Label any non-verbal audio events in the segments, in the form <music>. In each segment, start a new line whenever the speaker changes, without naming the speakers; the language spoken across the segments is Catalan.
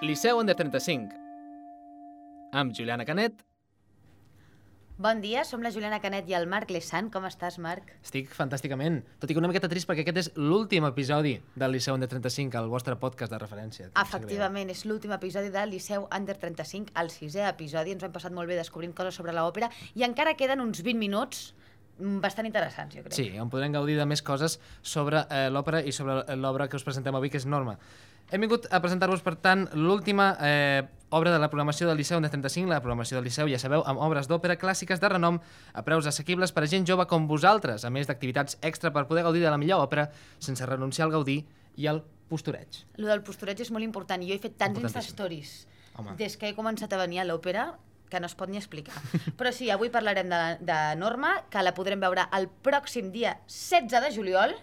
Liceu Under 35. Amb Juliana Canet.
Bon dia, som la Juliana Canet i el Marc Lessant. Com estàs, Marc?
Estic fantàsticament, tot i que una miqueta trist perquè aquest és l'últim episodi del Liceu Under 35, el vostre podcast de referència. que em sap greu.
Efectivament, és l'últim episodi de Liceu Under 35, el sisè episodi. Ens ho hem passat molt bé descobrint coses sobre l'òpera i encara queden uns 20 minuts mm, bastant interessants, jo crec.
Sí, on podrem gaudir de més coses sobre eh, l'òpera i sobre l'obra que us presentem avui, que és Norma. Hem vingut a presentar-vos, per tant, l'última eh, obra de la programació del Liceu de 35, la programació del Liceu, ja sabeu, amb obres d'òpera clàssiques de renom a preus assequibles per a gent jove com vosaltres, a més d'activitats extra per poder gaudir de la millor òpera sense renunciar al gaudir i al postureig.
Lo del postureig és molt important. Jo he fet tants
Importantíssim.
Instastories
Home.
des que he començat a venir a l'òpera que no es pot ni
<laughs>
explicar. Però sí, avui parlarem de, de Norma, que la podrem veure el pròxim dia 16 de juliol.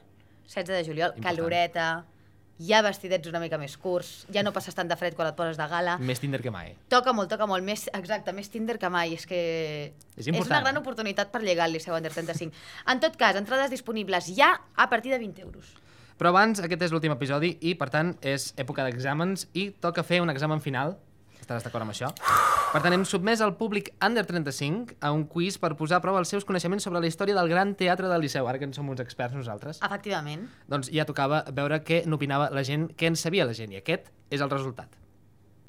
16 de juliol,
Important.
caloreta, ja vestidets una mica més curts, ja no passes tant de fred quan et poses de
Ah.
gala.
Més Tinder que mai.
Toca molt, toca molt, més, exacte, més Tinder que mai, és que és
És
una
important.
gran oportunitat per llegar al Liceu Under 35. En tot cas, entrades disponibles ja a partir de 20 euros.
Però abans, aquest és l'últim episodi i, per tant, és època d'exàmens i toca fer un examen final. Estaràs d'acord amb això? Per tant, hem sotmès al públic under 35 a un quiz per posar a prova els seus coneixements sobre la història del Gran Teatre del Liceu, ara que en som uns experts nosaltres.
Efectivament.
Doncs ja tocava veure què n'opinava la gent, què en sabia la gent, i aquest és el resultat.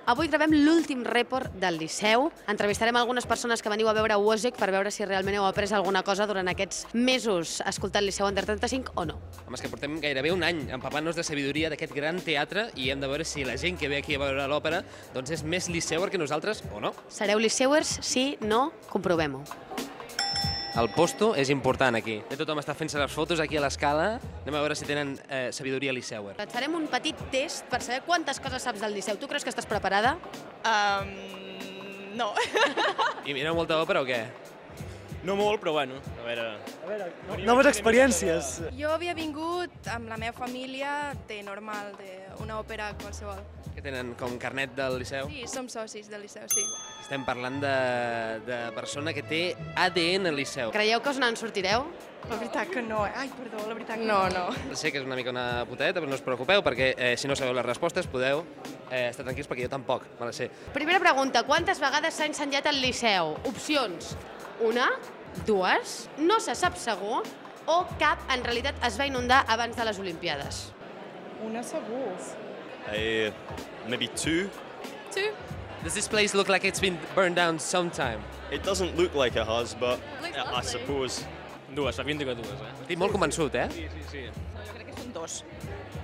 Avui gravem l'últim report del Liceu. Entrevistarem algunes persones que veniu a veure Wozek per veure si realment heu après alguna cosa durant aquests mesos escoltant Liceu Under 35 o no.
Home, és que portem gairebé un any empapant-nos de sabidoria d'aquest gran teatre i hem de veure si la gent que ve aquí a veure l'òpera doncs és més liceuer que nosaltres o no.
Sereu liceuers? Sí? No? Comprovem-ho.
El posto és important aquí. Ja tothom està fent-se les fotos aquí a l'escala. Anem a veure si tenen eh, sabidoria liceuer.
Et farem un petit test per saber quantes coses saps del Liceu. Tu creus que estàs preparada?
Um, no.
I mireu molta òpera o què?
No molt, però bueno, a eh. veure...
Noves experiències.
Jo havia vingut amb la meva família de normal, d'una òpera qualsevol.
Que tenen com carnet del liceu?
Sí, som socis del Liceu, sí.
Estem parlant de, de persona que té ADN al liceu.
Creieu que us n'en sortireu?
La veritat que no, eh? Ai, perdó, la veritat que no, no.
Sé que és una mica una putadeta, però no us preocupeu, perquè eh, si no sabeu les respostes podeu eh, estar tranquils, perquè jo tampoc me la sé.
Primera pregunta, quantes vegades s'ha incendiat el Liceu? Opcions, una, dues, no se sap segur, o cap en realitat es va inundar abans de les Olimpiades.
Una segur.
Eh, maybe two.
Tu?
Does this place look like it's been burned down sometime?
It doesn't look like it has, but
Looks
I- I
lovely.
suppose.
Dues, s'avinto que dues, eh?
Estic molt convençut, eh?
Sí, sí, sí.
Jo crec que són dos.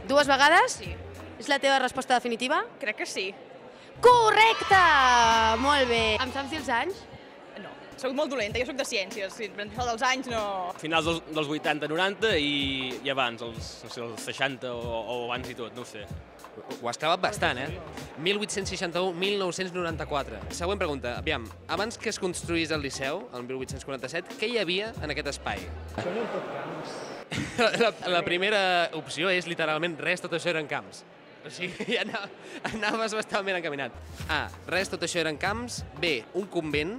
Dues vegades?
Sí.
És la teva resposta definitiva?
Crec que sí.
Correcte! Molt bé. Em saps dir els anys?
No. Soc molt dolenta, jo sóc de ciències. Si et això dels anys, no...
Finals dels, dels 80, 90 i, i abans, els, no sé, els 60 o, o abans i tot, no ho sé.
Ho has clavat bastant, eh? 1861-1994. Següent pregunta, aviam. Abans que es construís el Liceu, el 1847, què hi havia en aquest espai? La, la primera opció és literalment res, tot això eren camps. O sigui, <laughs> ja anava, anaves bastant ben encaminat. A. Res, tot això eren camps. B. Un convent.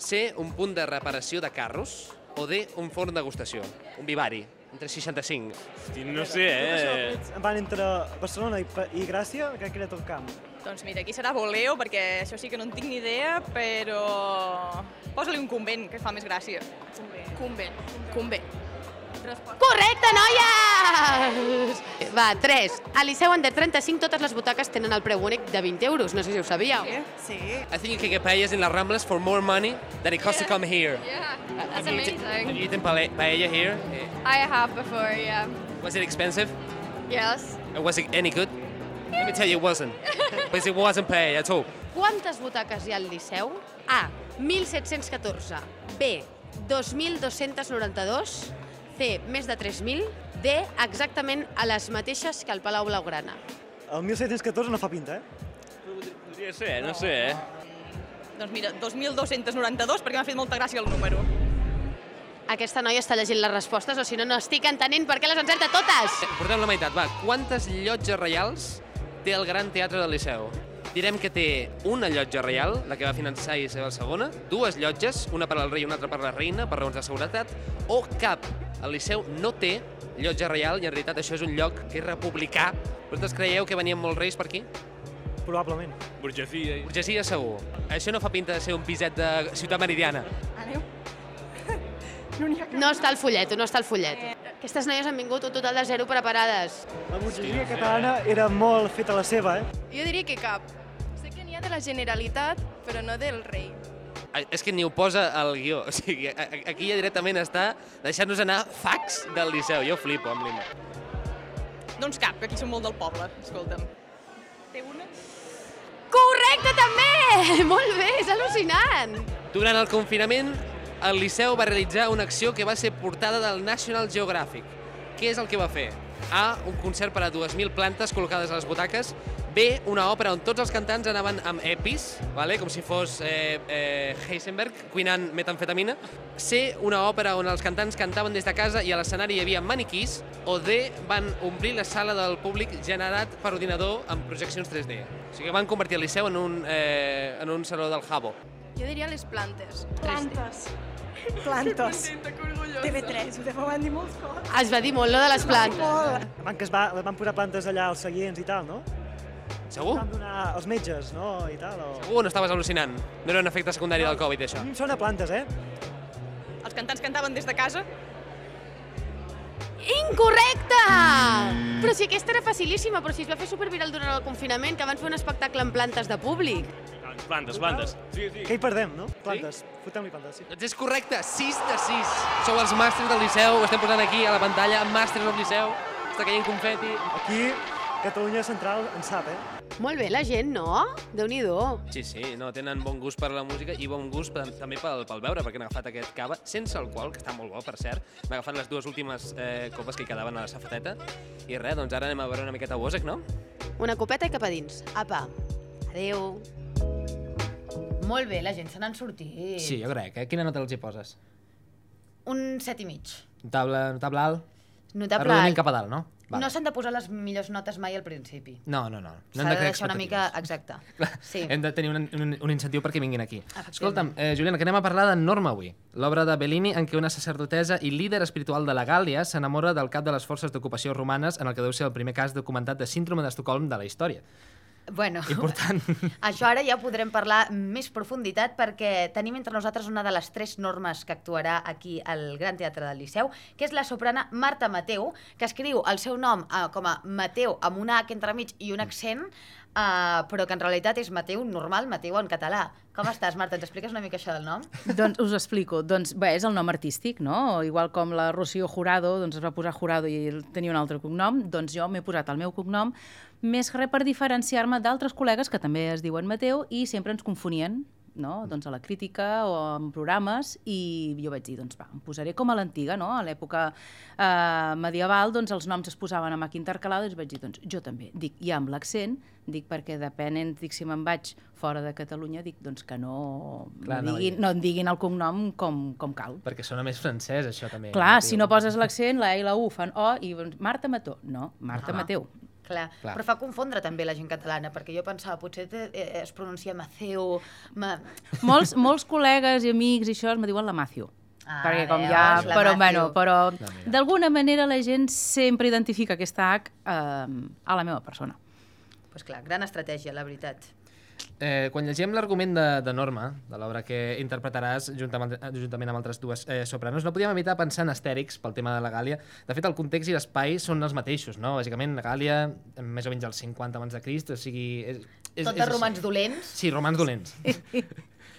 C. Un punt de reparació de carros. O D. Un forn d'agustació. Un vivari. Entre 65.
Hosti, no sé, eh?
Van entre Barcelona i, Pa- i Gràcia, crec que era tot camp.
Doncs mira, aquí serà voleo, perquè això sí que no en tinc ni idea, però... Posa-li un convent, que fa més gràcia. Convent. Convent.
Correcte, noies! Va, 3. A Liceu Under 35 totes les butaques tenen el preu únic de 20 euros. No sé si ho sabíeu.
Sí.
I think you can get paellas in Las Ramblas for more money than it costs to come here. Uh,
Yeah,
Have you eaten- Have you eaten paella, paella here? Eh,
I have before, yeah.
Was it expensive?
Yes.
And was it any good? Let me tell you, it
<laughs>
wasn't. because it wasn't paella at all.
Quantes butaques hi ha al Liceu? A. 1.714. B. 2.292. C. Més de 3.000. D. Exactament a les mateixes que al Palau Blaugrana.
El 1714 no fa pinta, eh?
Podria ser, no sé, eh?
Doncs mira, 2.292, perquè m'ha fet molta gràcia el número.
Aquesta noia està llegint les respostes, o si no, no estic entenent per què les encerta totes.
Portem la meitat, va. Quantes llotges reials té el Gran Teatre del Liceu? Direm que té una llotja reial, la que va finançar Isabel II, dues llotges, una per al rei i una altra per la reina, per raons de seguretat, o cap. El Liceu no té llotja reial i en realitat això és un lloc que és republicà. Vosaltres creieu que venien molts reis per aquí?
probablement.
Burgesia... I...
Burgesia segur. Això no fa pinta de ser un piset de ciutat meridiana.
Aneu.
No està el follet, no està el follet. Aquestes noies han vingut un total de zero preparades.
La burgesia catalana era molt feta la seva, eh?
Jo diria que cap. Sé que n'hi ha de la Generalitat, però no del rei.
Eh,
A- És que ni ho posa al guió. O sigui, a- a- aquí ja directament està deixant-nos anar fax del Liceu. Jo flipo amb l'Ima.
Doncs cap, que aquí som molt del poble, escolta'm. Té una?
Correcte, també! <laughs> Molt bé, és al·lucinant!
Durant el confinament, el Liceu va realitzar una acció que va ser portada del National Geographic. Què és el que va fer? A. Un concert per a 2.000 plantes col·locades a les butaques. B. Una òpera on tots els cantants anaven amb epis, vale? com si fos eh, eh, Heisenberg cuinant metamfetamina. C. Una òpera on els cantants cantaven des de casa i a l'escenari hi havia maniquís. O D. Van omplir la sala del públic generat per ordinador amb projeccions 3D. O sigui que van convertir el Liceu en un, eh, en un saló del Jabo.
Jo diria les plantes.
Plantes.
<laughs>
Plantes. TV3, ho deuen dir molts cops.
Es va dir molt, no, de les plantes.
Van, que es va, van posar plantes allà als seients i tal, no?
Segur?
Van donar als metges, no? I tal, o...
Uh, no estaves al·lucinant. No era un efecte secundari del Covid, això.
A mi em sona a plantes, eh?
Els cantants cantaven des de casa?
Incorrecte! Però si aquesta era facilíssima, però si es va fer superviral durant el confinament, que van fer un espectacle en plantes de públic.
Plantes, plantes.
Sí, sí. Que hi perdem, no? Plantes. Sí? Fotem-li plantes, sí.
Doncs és correcte, 6 de 6. Sou els màsters del Liceu, ho estem posant aquí a la pantalla, màsters del Liceu, està caient confeti.
Aquí, Catalunya Central en sap, eh?
Molt bé, la gent, no? Déu-n'hi-do.
Sí, sí, no, tenen bon gust per la música i bon gust per, també pel, pel beure, perquè han agafat aquest cava, sense alcohol, que està molt bo, per cert. M'ha agafat les dues últimes eh, copes que hi quedaven a la safeteta. I res, doncs ara anem a veure una miqueta Bosec, no?
Una copeta i cap a dins. Apa. Adéu.
Molt bé, la gent se n'han sortit.
Sí, jo crec, eh? Quina nota els hi poses?
Un set i mig.
Notable, notable alt?
Notable
Arrodonint
alt.
cap a dalt, no? Vale.
No s'han de posar les millors notes mai al principi.
No, no, no. no hem
S'ha de
crear
deixar una mica... Exacte.
<laughs>
Sí.
Hem de tenir un, un, un incentiu perquè vinguin aquí.
Efectivament.
Escolta'm, eh, Juliana, que anem a parlar de Norma avui. L'obra de Bellini en què una sacerdotessa i líder espiritual de la Gàlia s'enamora del cap de les forces d'ocupació romanes en el que deu ser el primer cas documentat de síndrome d'Estocolm de la història.
Bueno,
Important.
<laughs> això ara ja podrem parlar amb més profunditat perquè tenim entre nosaltres una de les tres normes que actuarà aquí al Gran Teatre del Liceu, que és la soprana Marta Mateu, que escriu el seu nom eh, com a Mateu amb una H entremig i un accent, eh, però que en realitat és Mateu normal, Mateu en català. Com estàs, Marta? Ens expliques una mica això del nom?
Doncs us explico. Doncs, bé, és el nom artístic, no? Igual com la Rocío Jurado, doncs es va posar Jurado i tenia un altre cognom, doncs jo m'he posat el meu cognom, més que res per diferenciar-me d'altres col·legues que també es diuen Mateu i sempre ens confonien, no? doncs a la crítica o en programes i jo vaig dir, doncs va, em posaré com a l'antiga, no? a l'època eh, medieval doncs els noms es posaven a maca intercalada i vaig dir, doncs jo també, dic, i amb l'accent, dic perquè depenent, dic si me'n vaig fora de Catalunya, dic doncs que no,
Clar,
me
no,
diguin,
i-
no em diguin el cognom com, com cal.
Perquè sona més francès, això, també. Eh,
Clar,
Mateu.
si no poses l'accent, la E i la U fan O i doncs, Marta Mató. No, Marta
Ah.
Mateu.
Clar.
Clar.
Clar, però fa confondre també la gent catalana, perquè jo pensava potser te- eh, es pronuncia Mateu... Ma...
Molts, molts col·legues i amics i això me diuen la Matthew.
Ah,
perquè com
veus,
ja...
la
Però,
Matthew.
bueno, però d'alguna manera la gent sempre identifica aquesta H eh, a la meva persona.
Pues clar, gran estratègia, la veritat.
Eh, quan llegim l'argument de, de Norma, de l'obra que interpretaràs juntament, juntament amb altres dues eh, sopranos, no podíem evitar pensar en Astèrix pel tema de la Gàlia. De fet, el context i l'espai són els mateixos, no? Bàsicament, la Gàlia, eh, més o menys als 50 abans de Crist, o sigui... És, és,
Tot de
és així.
romans dolents.
Sí, romans dolents. <laughs>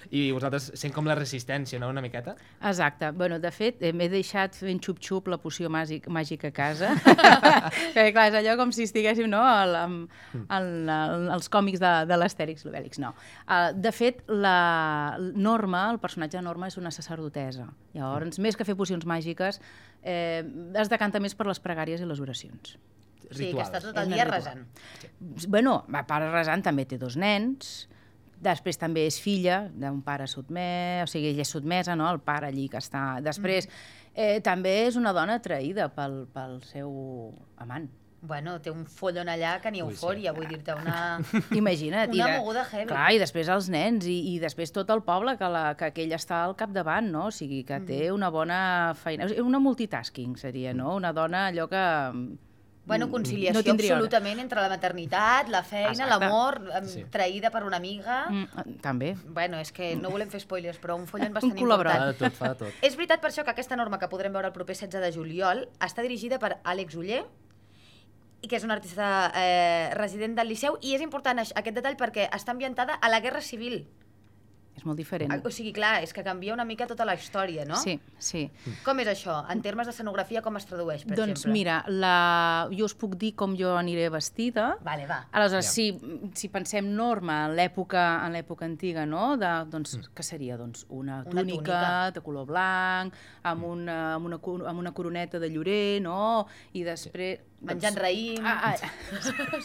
I vosaltres sent com la resistència, no?, una miqueta?
Exacte. Bueno, de fet, eh, m'he deixat fent xup-xup la poció màgic, màgica a casa. Perquè, clar, és allò com si estiguéssim no, al, amb, al, al, als còmics de, de l'Astèrix, l'Obèlix, no. Uh, de fet, la Norma, el personatge de Norma, és una sacerdotesa. Llavors, més que fer pocions màgiques, eh, es decanta més per les pregàries i les oracions.
O sigui, que està tot el dia resant.
Bueno, ma pare resant també té dos nens, després també és filla d'un pare sotmès, o sigui, ella és sotmesa, no?, el pare allí que està... Després,
Mm.
eh, també és una dona traïda pel, pel seu amant.
Bueno, té un follon allà que ni
Ui, sí.
eufòria, vull dir-te una...
Imagina't. i
Una
de-
moguda heavy.
Clar, i després els nens, i, i després tot el poble, que, la, que aquell està al capdavant, no? O sigui,
Mm. Ah.
que té una bona feina... O sigui, una multitasking seria, no? Una dona allò que mm,
Bueno, conciliació
No tindria hora.
absolutament entre la maternitat, la feina,
Exacte.
l'amor, em,
Sí.
traïda per una amiga...
Mm, també.
Bueno, és que no volem fer spoilers, però un follon bastant
col·laborat.
important.
Fa de tot, fa de tot.
És veritat per això que aquesta norma que podrem veure el proper 16 de juliol està dirigida per Àlex Uller, i que és un artista eh, resident del Liceu, i és important aix- aquest detall perquè està ambientada a la Guerra Civil.
És molt diferent.
Ah, O sigui, clar, és que canvia una mica tota la història, no?
Sí, sí.
Com és això? En termes d'escenografia, com es tradueix, per
doncs
exemple?
mira, la... jo us puc dir com jo aniré vestida.
Vale, va.
Aleshores, si, si pensem norma en l'època en l'època antiga, no? De, doncs,
Mm.
què seria? Doncs una túnica,
túnica.
de color blanc, amb,
Mm.
una, amb, una, cor- amb una coroneta de llorer, no? I després...
Menjant
doncs...
raïm.
Ah, ah,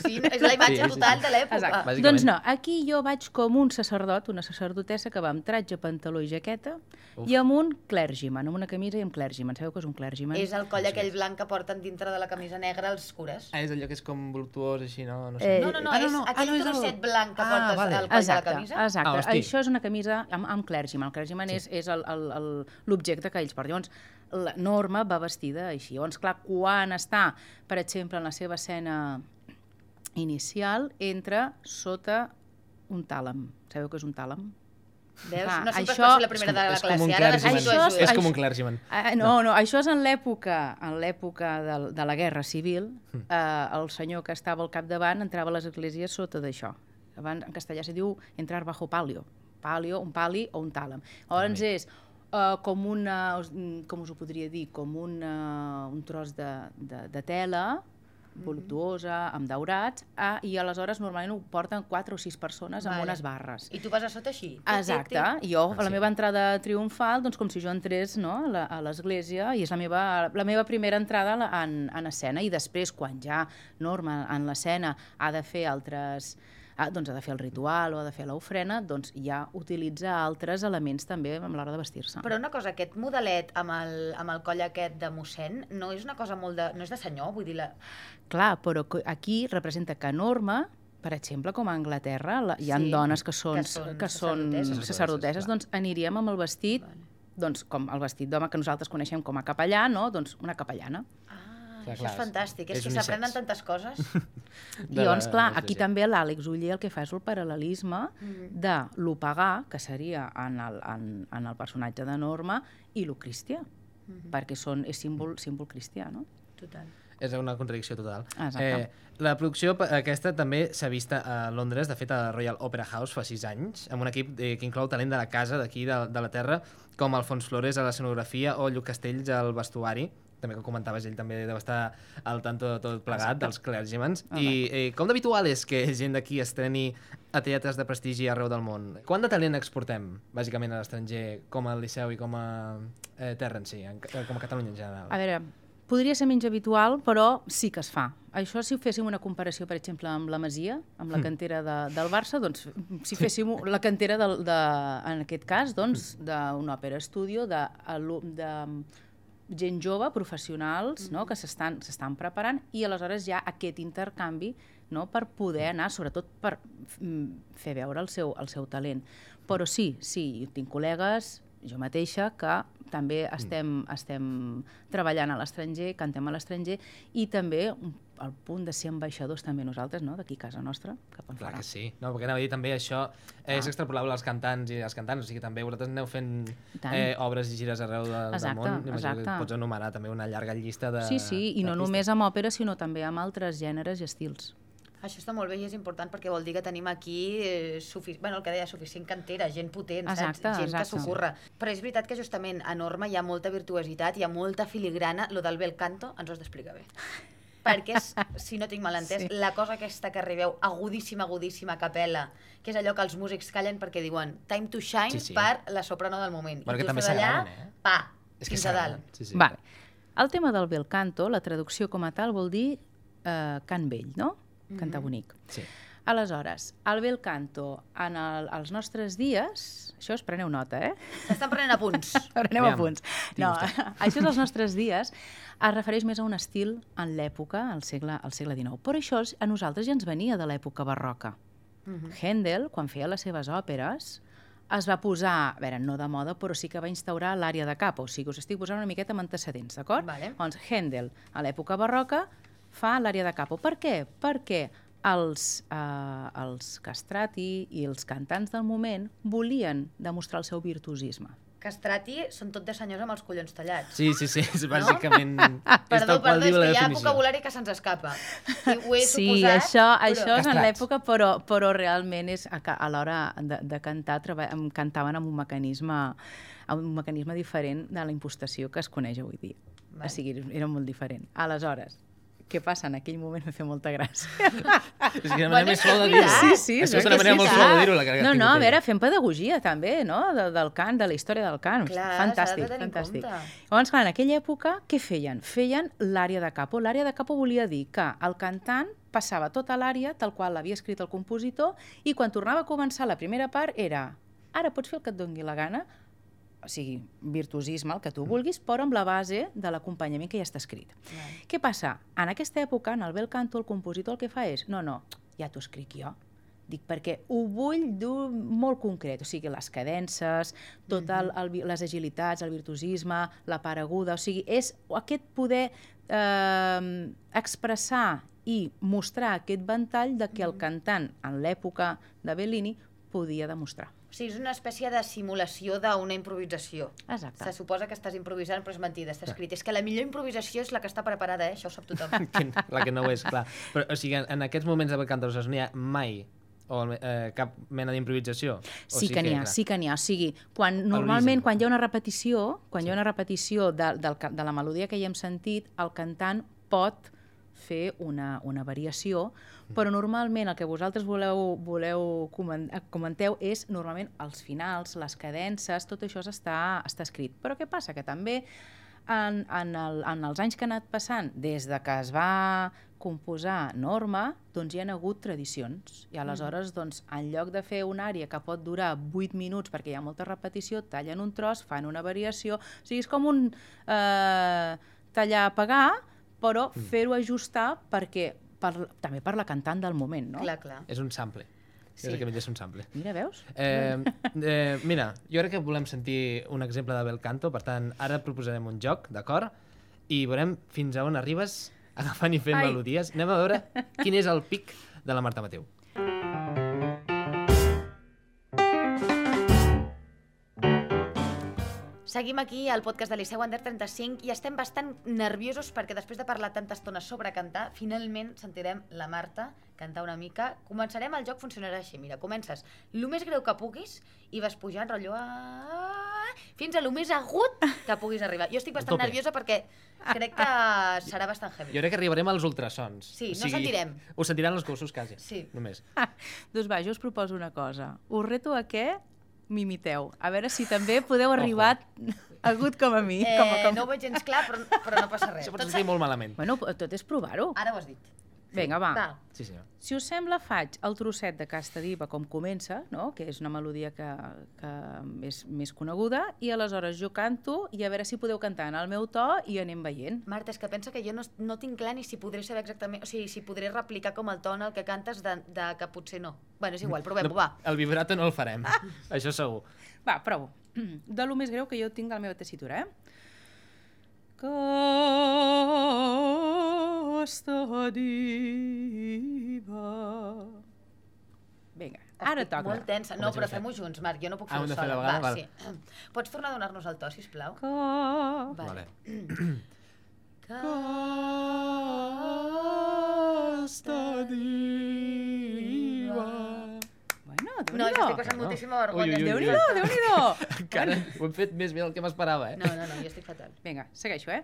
Sí, no? <laughs> és la imatge
Sí, sí, sí.
total de l'època.
Exacte. Doncs no, aquí jo vaig com un sacerdot, una sacerdotessa que va amb tratge, pantaló i jaqueta
Uf.
i amb un clergyman, amb una camisa i amb clergyman. Sabeu què és un clergyman?
És el coll aquell blanc que porten dintre de la camisa negra els cures.
Ah, és allò que és com voluptuós, així, no? No,
Eh,
No, no, no,
ah,
és aquell
és el-
trosset blanc que
Ah,
portes
vale.
al coll de
exacte,
la camisa.
Exacte,
Ah, hosti.
això és una camisa amb, amb clergyman. El clergyman sí. és, és el- el- el- l'objecte que ells porten. Llavors, la norma va vestida així. Llavors, clar, quan està, per exemple, en la seva escena inicial, entra sota un tàlam. Sabeu què és un tàlam?
Veus?
Clar,
No sempre això... la primera de la
és com
classe.
un
Ara necessito
clergyman.
ajuda.
És com un clergyman.
Ah, no, no, això és en l'època en l'època de, de la Guerra Civil. Eh, el senyor que estava al capdavant entrava a les esglésies sota d'això. Abans, en castellà se diu entrar bajo palio. Palio, un pali o un tàlam. Llavors és eh, com una... us- mm, com us ho podria dir? Com una, un tros de, de, de tela voluptuosa, amb daurats, eh, i aleshores normalment ho porten quatre o sis persones amb
Vale.
unes barres.
I tu vas a sota així. Tic, tic,
Exacte,
tic.
jo, a la meva entrada triomfal, doncs com si jo entrés no, a la- a l'església, i és la meva, la meva primera entrada a la- en, en escena, i després, quan ja Norma en l'escena ha de fer altres... ah, doncs ha de fer el ritual o ha de fer l'ofrena, doncs ja utilitza altres elements també a l'hora de vestir-se.
Però una cosa, aquest modelet amb el, amb el coll aquest de mossèn no és una cosa molt de... No és de senyor, vull dir... La...
Clar, però co- aquí representa que Norma, per exemple, com a Anglaterra, la, hi ha
Sí,
sí, dones que són,
que
que
són
són, que són
sacerdoteses.
sacerdoteses, doncs aniríem amb el vestit, vale. doncs com el vestit d'home que nosaltres coneixem com a capellà, no? doncs una capellana.
Clar, Ah, això és fantàstic, és,
és
que
unisex.
s'aprenen tantes coses.
I llavors, clar, aquí també l'Àlex Uller el que fa és el paral·lelisme
Mhm.
de lo pagà, que seria en el, en, en el personatge de Norma, i lo cristià, perquè són, és símbol, símbol cristià, no?
mm. Total.
És una contradicció total.
Exacte.
Eh, la producció pa- aquesta també s'ha vist a Londres, de fet a Royal Opera House fa sis anys, amb un equip eh, que inclou talent de la casa d'aquí, de, de la terra, com Alfons Flores a l'escenografia o Lluc Castells al vestuari, també que comentaves, ell també deu estar al tanto de tot plegat,
Exacte.
dels clergymans.
Ah,
I eh, com d'habitual és que gent d'aquí estreni a teatres de prestigi arreu del món? Quant de talent exportem, bàsicament, a l'estranger, com al Liceu i com a eh, terra en si, en, ca- com a Catalunya en general?
A veure, podria ser menys habitual, però sí que es fa. Això, si ho féssim una comparació, per exemple, amb la Masia, amb la
Mm.
cantera de, del Barça, doncs, si féssim la cantera, del, de, en aquest cas, doncs, d'un òpera estudio, de, alu- de gent jove, professionals, no?, que s'estan s'estan preparant, i aleshores hi ha aquest intercanvi no? per poder anar, sobretot per mm, fer veure el seu, el seu talent. Però sí, sí, tinc col·legues, jo mateixa, que també
Mm.
estem, estem treballant a l'estranger, cantem a l'estranger, i també un- el punt de ser ambaixadors també nosaltres, no? d'aquí a casa nostra, cap enfora. Ah.
Clar que sí. No, perquè anava a dir també això eh, és extrapolable als cantants i les cantants, o sigui que també vosaltres aneu fent
tant.
eh, obres i gires arreu de,
Exacte,
del món. Imagino
exacte.
que pots enumerar també una llarga llista de...
Ah. Sí, sí, i no només amb òpera, sinó també amb altres gèneres i estils.
Això està molt bé i és important perquè vol dir que tenim aquí eh, sufic... bueno, el que deia, suficient cantera, gent potent,
Exacte,
saps? gent
exacte.
que s'ocorre. Però és veritat que justament a Norma hi ha molta virtuositat, hi ha molta filigrana. Lo del bel canto ens ho has d'explicar bé. Perquè
<laughs>
és, si no tinc mal entès,
Sí.
sí. la cosa aquesta que arribeu agudíssima, agudíssima, a capella, que és allò que els músics callen perquè diuen time to shine
Sí, sí.
per la soprano del moment.
Bueno,
I
que
tu
també
estàs allà,
s'agraden, eh?
Pa,
És que
fins a
s'agraden.
dalt.
Sí, <laughs> sí.
Vale. El tema del bel canto, la traducció com a tal vol dir eh, cant vell, no? Cantar
Mhm.
bonic.
Sí.
Aleshores, el bel canto en el, els nostres dies, això es preneu nota, eh?
S'estan prenent
<laughs>
apunts.
preneu
Aviam,
apunts. No, <laughs> això dels nostres dies es refereix més a un estil en l'època, al segle, al segle XIX. Però això a nosaltres ja ens venia de l'època barroca.
Mhm.
Händel, quan feia les seves òperes, es va posar, a veure, no de moda, però sí que va instaurar l'àrea de capa, o sigui, us estic posant una miqueta amb antecedents, d'acord?
Vale.
Doncs Händel, a l'època barroca, fa l'àrea de capo. Per què? Perquè els, eh, els castrati i els cantants del moment volien demostrar el seu virtuosisme.
Castrati són tot de senyors amb els collons tallats.
Sí, sí, sí, és bàsicament... és
<laughs> Perdó,
tal qual
perdó, és
diu la
que hi ha
definició.
vocabulari que se'ns escapa. I ho he
sí,
suposat,
això,
però...
això és en l'època, però, però realment és a, ca- a l'hora de, de cantar treba, em cantaven amb un mecanisme amb un mecanisme diferent de la impostació que es coneix avui dia.
Val.
O sigui, era molt diferent. Aleshores, què passa? En aquell moment em feia molta gràcia.
És que era una manera més suau de dir-ho.
Sí, sí.
És que és
clar
una manera
sí.
molt suau de dir-ho, la que
No,
tinc
no,
aquí.
a veure, fem pedagogia també, no? De, del cant, de la història del cant.
Clar, s'ha de
fantàstic,
tenir en
fantàstic.
compte.
Llavors, clar, en aquella època, què feien? Feien l'àrea de capo. L'àrea de capo volia dir que el cantant passava tota l'àrea tal qual l'havia escrit el compositor i quan tornava a començar la primera part era ara pots fer el que et doni la gana, o sigui, virtuosisme, el que tu vulguis, però amb la base de l'acompanyament que ja està escrit. Què passa? En aquesta època, en el bel canto, el compositor el que fa és no, no, ja t'ho escric jo. Dic, perquè ho vull dur molt concret, o sigui, les cadences, tot el, el, vi- les agilitats, el virtuosisme, la part aguda, o sigui, és aquest poder eh, expressar i mostrar aquest ventall de que el cantant, en l'època de Bellini, podia demostrar.
O sigui, és una espècie de simulació d'una improvisació.
Exacte.
Se suposa que estàs improvisant, però és mentida, està escrit. És que la millor improvisació és la que està preparada, eh? això ho sap
<laughs>
tothom.
que, la que no ho és, clar. Però, o sigui, en, en aquests moments de Bacantaros no hi ha mai o, eh, cap mena d'improvisació. O
Sí que n'hi ha,
clar.
sí que n'hi ha. O sigui, quan, normalment, quan hi ha una repetició, quan hi ha una repetició de, del, ca- de la melodia que hi hem sentit, el cantant pot fer una, una variació, però normalment el que vosaltres voleu, voleu comen- eh, comenteu és normalment els finals, les cadences, tot això està, està escrit. Però què passa? Que també en, en, el, en els anys que han anat passant, des de que es va composar norma, doncs hi ha hagut tradicions. I aleshores, doncs, en lloc de fer una àrea que pot durar 8 minuts perquè hi ha molta repetició, tallen un tros, fan una variació... O sigui, és com un eh, tallar-pagar, però fer-ho ajustar perquè per, també per la cantant del moment, no?
Clar, clar.
És un sample. Sí.
Sí.
Bàsicament és un sample.
Mira, veus?
Eh, eh, mira, jo crec que volem sentir un exemple de bel canto, per tant, ara proposarem un joc, d'acord? I veurem fins a on arribes agafant i fent
Ai.
Ai. melodies. Anem a veure quin és el pic de la Marta Mateu.
Seguim aquí al podcast de Liceu Under 35 i estem bastant nerviosos perquè després de parlar tanta estona sobre cantar, finalment sentirem la Marta cantar una mica. Començarem el joc, funcionarà així. Mira, comences el més greu que puguis i vas pujant rotllo a... fins a lo més agut que puguis arribar. Jo estic bastant
tope.
nerviosa perquè crec que serà bastant heavy.
Jo crec que arribarem als ultrasons.
Sí, no sentirem.
Ho sentiran els gossos, quasi.
Sí.
Només.
Doncs va, jo us proposo una cosa. Us reto a què m'imiteu. A veure si també podeu arribar agut com a mi.
Eh,
com a, com...
No ho veig gens clar, però, però no passa
<laughs>
res.
Això pot sentir molt malament.
Bueno, tot és provar-ho.
Ara ho has dit.
Vinga, va.
Va.
Sí, senyor.
Si us sembla, faig el trosset de Casta Diva com comença, no? que és una melodia que, que és més coneguda, i aleshores jo canto i a veure si podeu cantar en el meu to i anem veient.
Marta, és que pensa que jo no, no tinc clar ni si podré saber exactament... O sigui, si podré replicar com el to en el que cantes de, de que potser no. Bueno, és igual, provem-ho, va. Ah.
El vibrato no el farem, això segur.
Va, <clears throat> provo. De lo més greu que jo tinc de la meva tessitura, eh? Casta diva... Vinga, ara
Estic
toca.
Molt tensa. No, però fem-ho junts, Marc, jo no puc
Ah,
fer-ho
ho hem de fer
sola.
de
va,
vegada? Val.
sí. <clears throat> Pots tornar a donar-nos el to, sisplau?
Que...
Vale.
Casta diva...
Bueno, déu
No, jo estic passant moltíssima vergonya.
Déu-n'hi-do, déu-n'hi-do.
Encara <laughs> ho hem fet més bé del que m'esperava, eh?
No, no, no, jo estic fatal.
Vinga, segueixo, eh?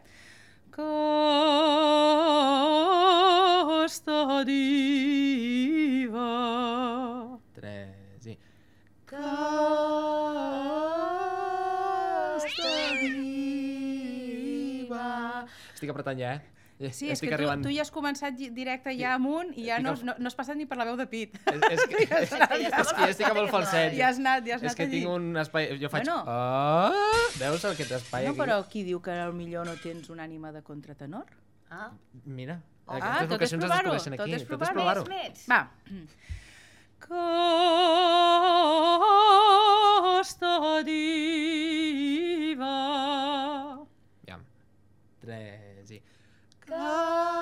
Costa diva.
Tres i... Estic apretant ja, eh?
Sí,
Estic
és que tu,
arribant.
tu ja has començat gi- directe ja amunt i ja
Estic
no,
al-
no, no has passat ni per la veu de pit. <laughs>
És, és que,
Ja
és,
està, ja
és,
està
que jo estic amb
eh?
el falset.
Ja has anat, ja has
És
anat
que
allí.
tinc un espai... Jo faig...
Bueno.
Ah, veus aquest espai
No,
aquí?
però qui diu que millor no tens un ànima de contratenor?
Ah,
Mira,
Ah,
aquestes
tot
vocacions
és
es
provar-ho,
descobreixen
tot
aquí.
és provar-ho.
Més,
Va. Costa diva.
Tres i...
Casta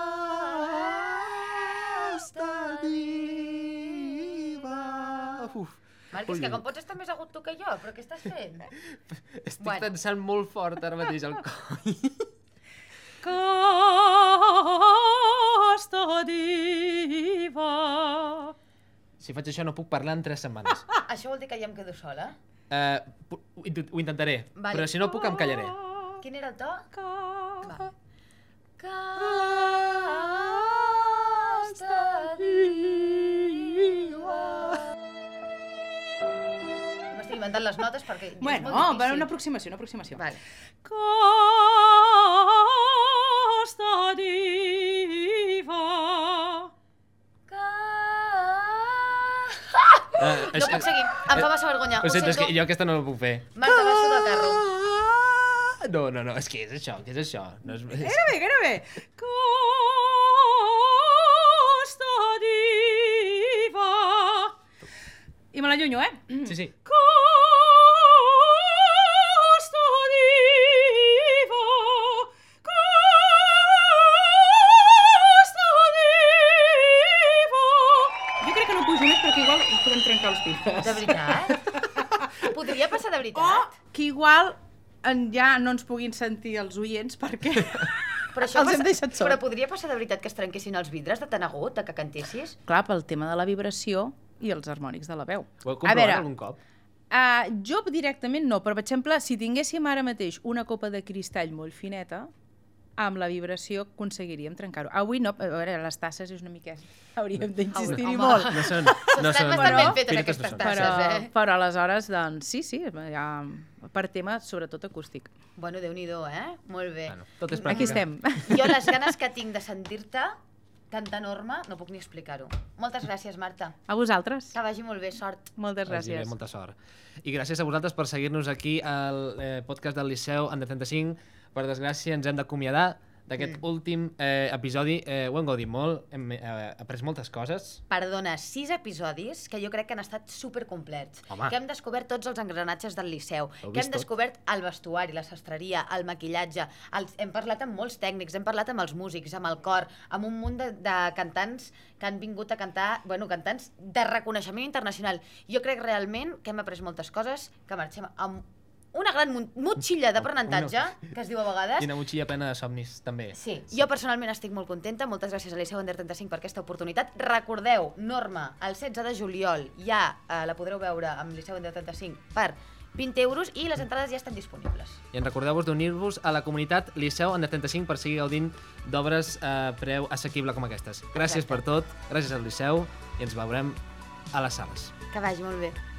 és que com pots estar més agut tu que jo, però què estàs fent?
Estic bueno. tensant molt fort ara mateix el coll.
Costa diva.
<laughs> Si faig això no puc parlar en tres <laughs> setmanes.
Això vol dir que ja em quedo sola?
Uh, ho, intent- ho intentaré,
Vale.
però si no puc em callaré.
Quin era el to? Va. Costa diva. M'estic inventant les notes perquè és
Bueno,
molt
va,
difícil.
una aproximació, una aproximació.
Vale.
Costa diva.
Uh,
No puc seguir, em fa massa vergonya, ho
Ho sento, és
sento.
que jo aquesta no la puc fer. Ah!
Marta, baixo de carro.
No, no, no, és que és això, que és això. No és... és...
Gairebé, gairebé. Costa diva. I me l'allunyo, eh?
Sí, sí.
Costa diva. Costa diva. Jo crec que no pujo més perquè igual ens podem trencar els pits.
De veritat? Podria passar de veritat?
O que igual en ja no ens puguin sentir els oients perquè
Però això
els hem deixat sols.
Però podria passar de veritat que es trenquessin els vidres de tan agut, de que cantessis?
<laughs> Clar, pel tema de la vibració i els harmònics de la veu.
Ho heu
A
comprovat
veure,
algun cop?
Uh, jo directament no, però per exemple, si tinguéssim ara mateix una copa de cristall molt fineta, amb la vibració aconseguiríem trencar-ho. Avui no, a veure, les tasses és una mica... Hauríem d'insistir-hi
Home.
molt.
No són- no Estan són- bastant ben fetes, pirates aquestes no són. tasses,
però,
eh?
Però aleshores, doncs, sí, sí, ja, per tema sobretot acústic.
Bueno, déu nhi eh? Molt bé. Bueno,
tot és
Aquí estem.
Jo les ganes que tinc de sentir-te tan enorme, no puc ni explicar-ho. Moltes gràcies, Marta.
A vosaltres.
Que vagi molt bé, sort.
Moltes
Vagi bé, molta sort. I gràcies a vosaltres per seguir-nos aquí al eh, podcast del Liceu en 35. Per desgràcia, ens hem d'acomiadar d'aquest
Mm.
mm. últim eh, episodi. Eh, ho hem gaudit molt, hem eh, après moltes coses.
Perdona, sis episodis que jo crec que han estat supercomplets.
Home.
Que hem descobert tots els engranatges del Liceu.
Heu
Que
vist
hem
tot?
descobert el vestuari, la sastreria, el maquillatge. Els... Hem parlat amb molts tècnics, hem parlat amb els músics, amb el cor, amb un munt de, de cantants que han vingut a cantar, bueno, cantants de reconeixement internacional. Jo crec realment que hem après moltes coses, que marxem amb una gran mun- motxilla d'aprenentatge, que es diu a vegades,
I una motxilla plena de somnis, també.
Sí, jo personalment estic molt contenta. Moltes gràcies a l'Iceu Under 35 per aquesta oportunitat. Recordeu, Norma, el 16 de juliol ja eh, la podreu veure amb l'Iceu Under 35 per 20 euros i les entrades ja estan disponibles.
I en recordeu-vos d'unir-vos a la comunitat Liceu en 35 per seguir gaudint d'obres a preu assequible com aquestes. Gràcies per tot, gràcies al Liceu i ens veurem a les sales.
Que vagi molt bé.